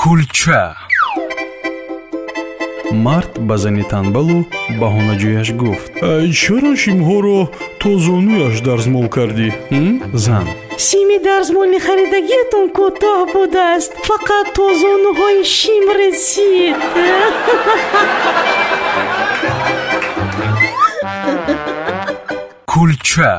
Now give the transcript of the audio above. кулча мард ба зани танбалу баҳонаҷӯяш гуфт чаро шимҳоро то зонӯяш дарзмол кардӣ м? зан сими дарзмоли харидагиятон кӯтоҳ будааст фақат то зонуҳои шим расид кулча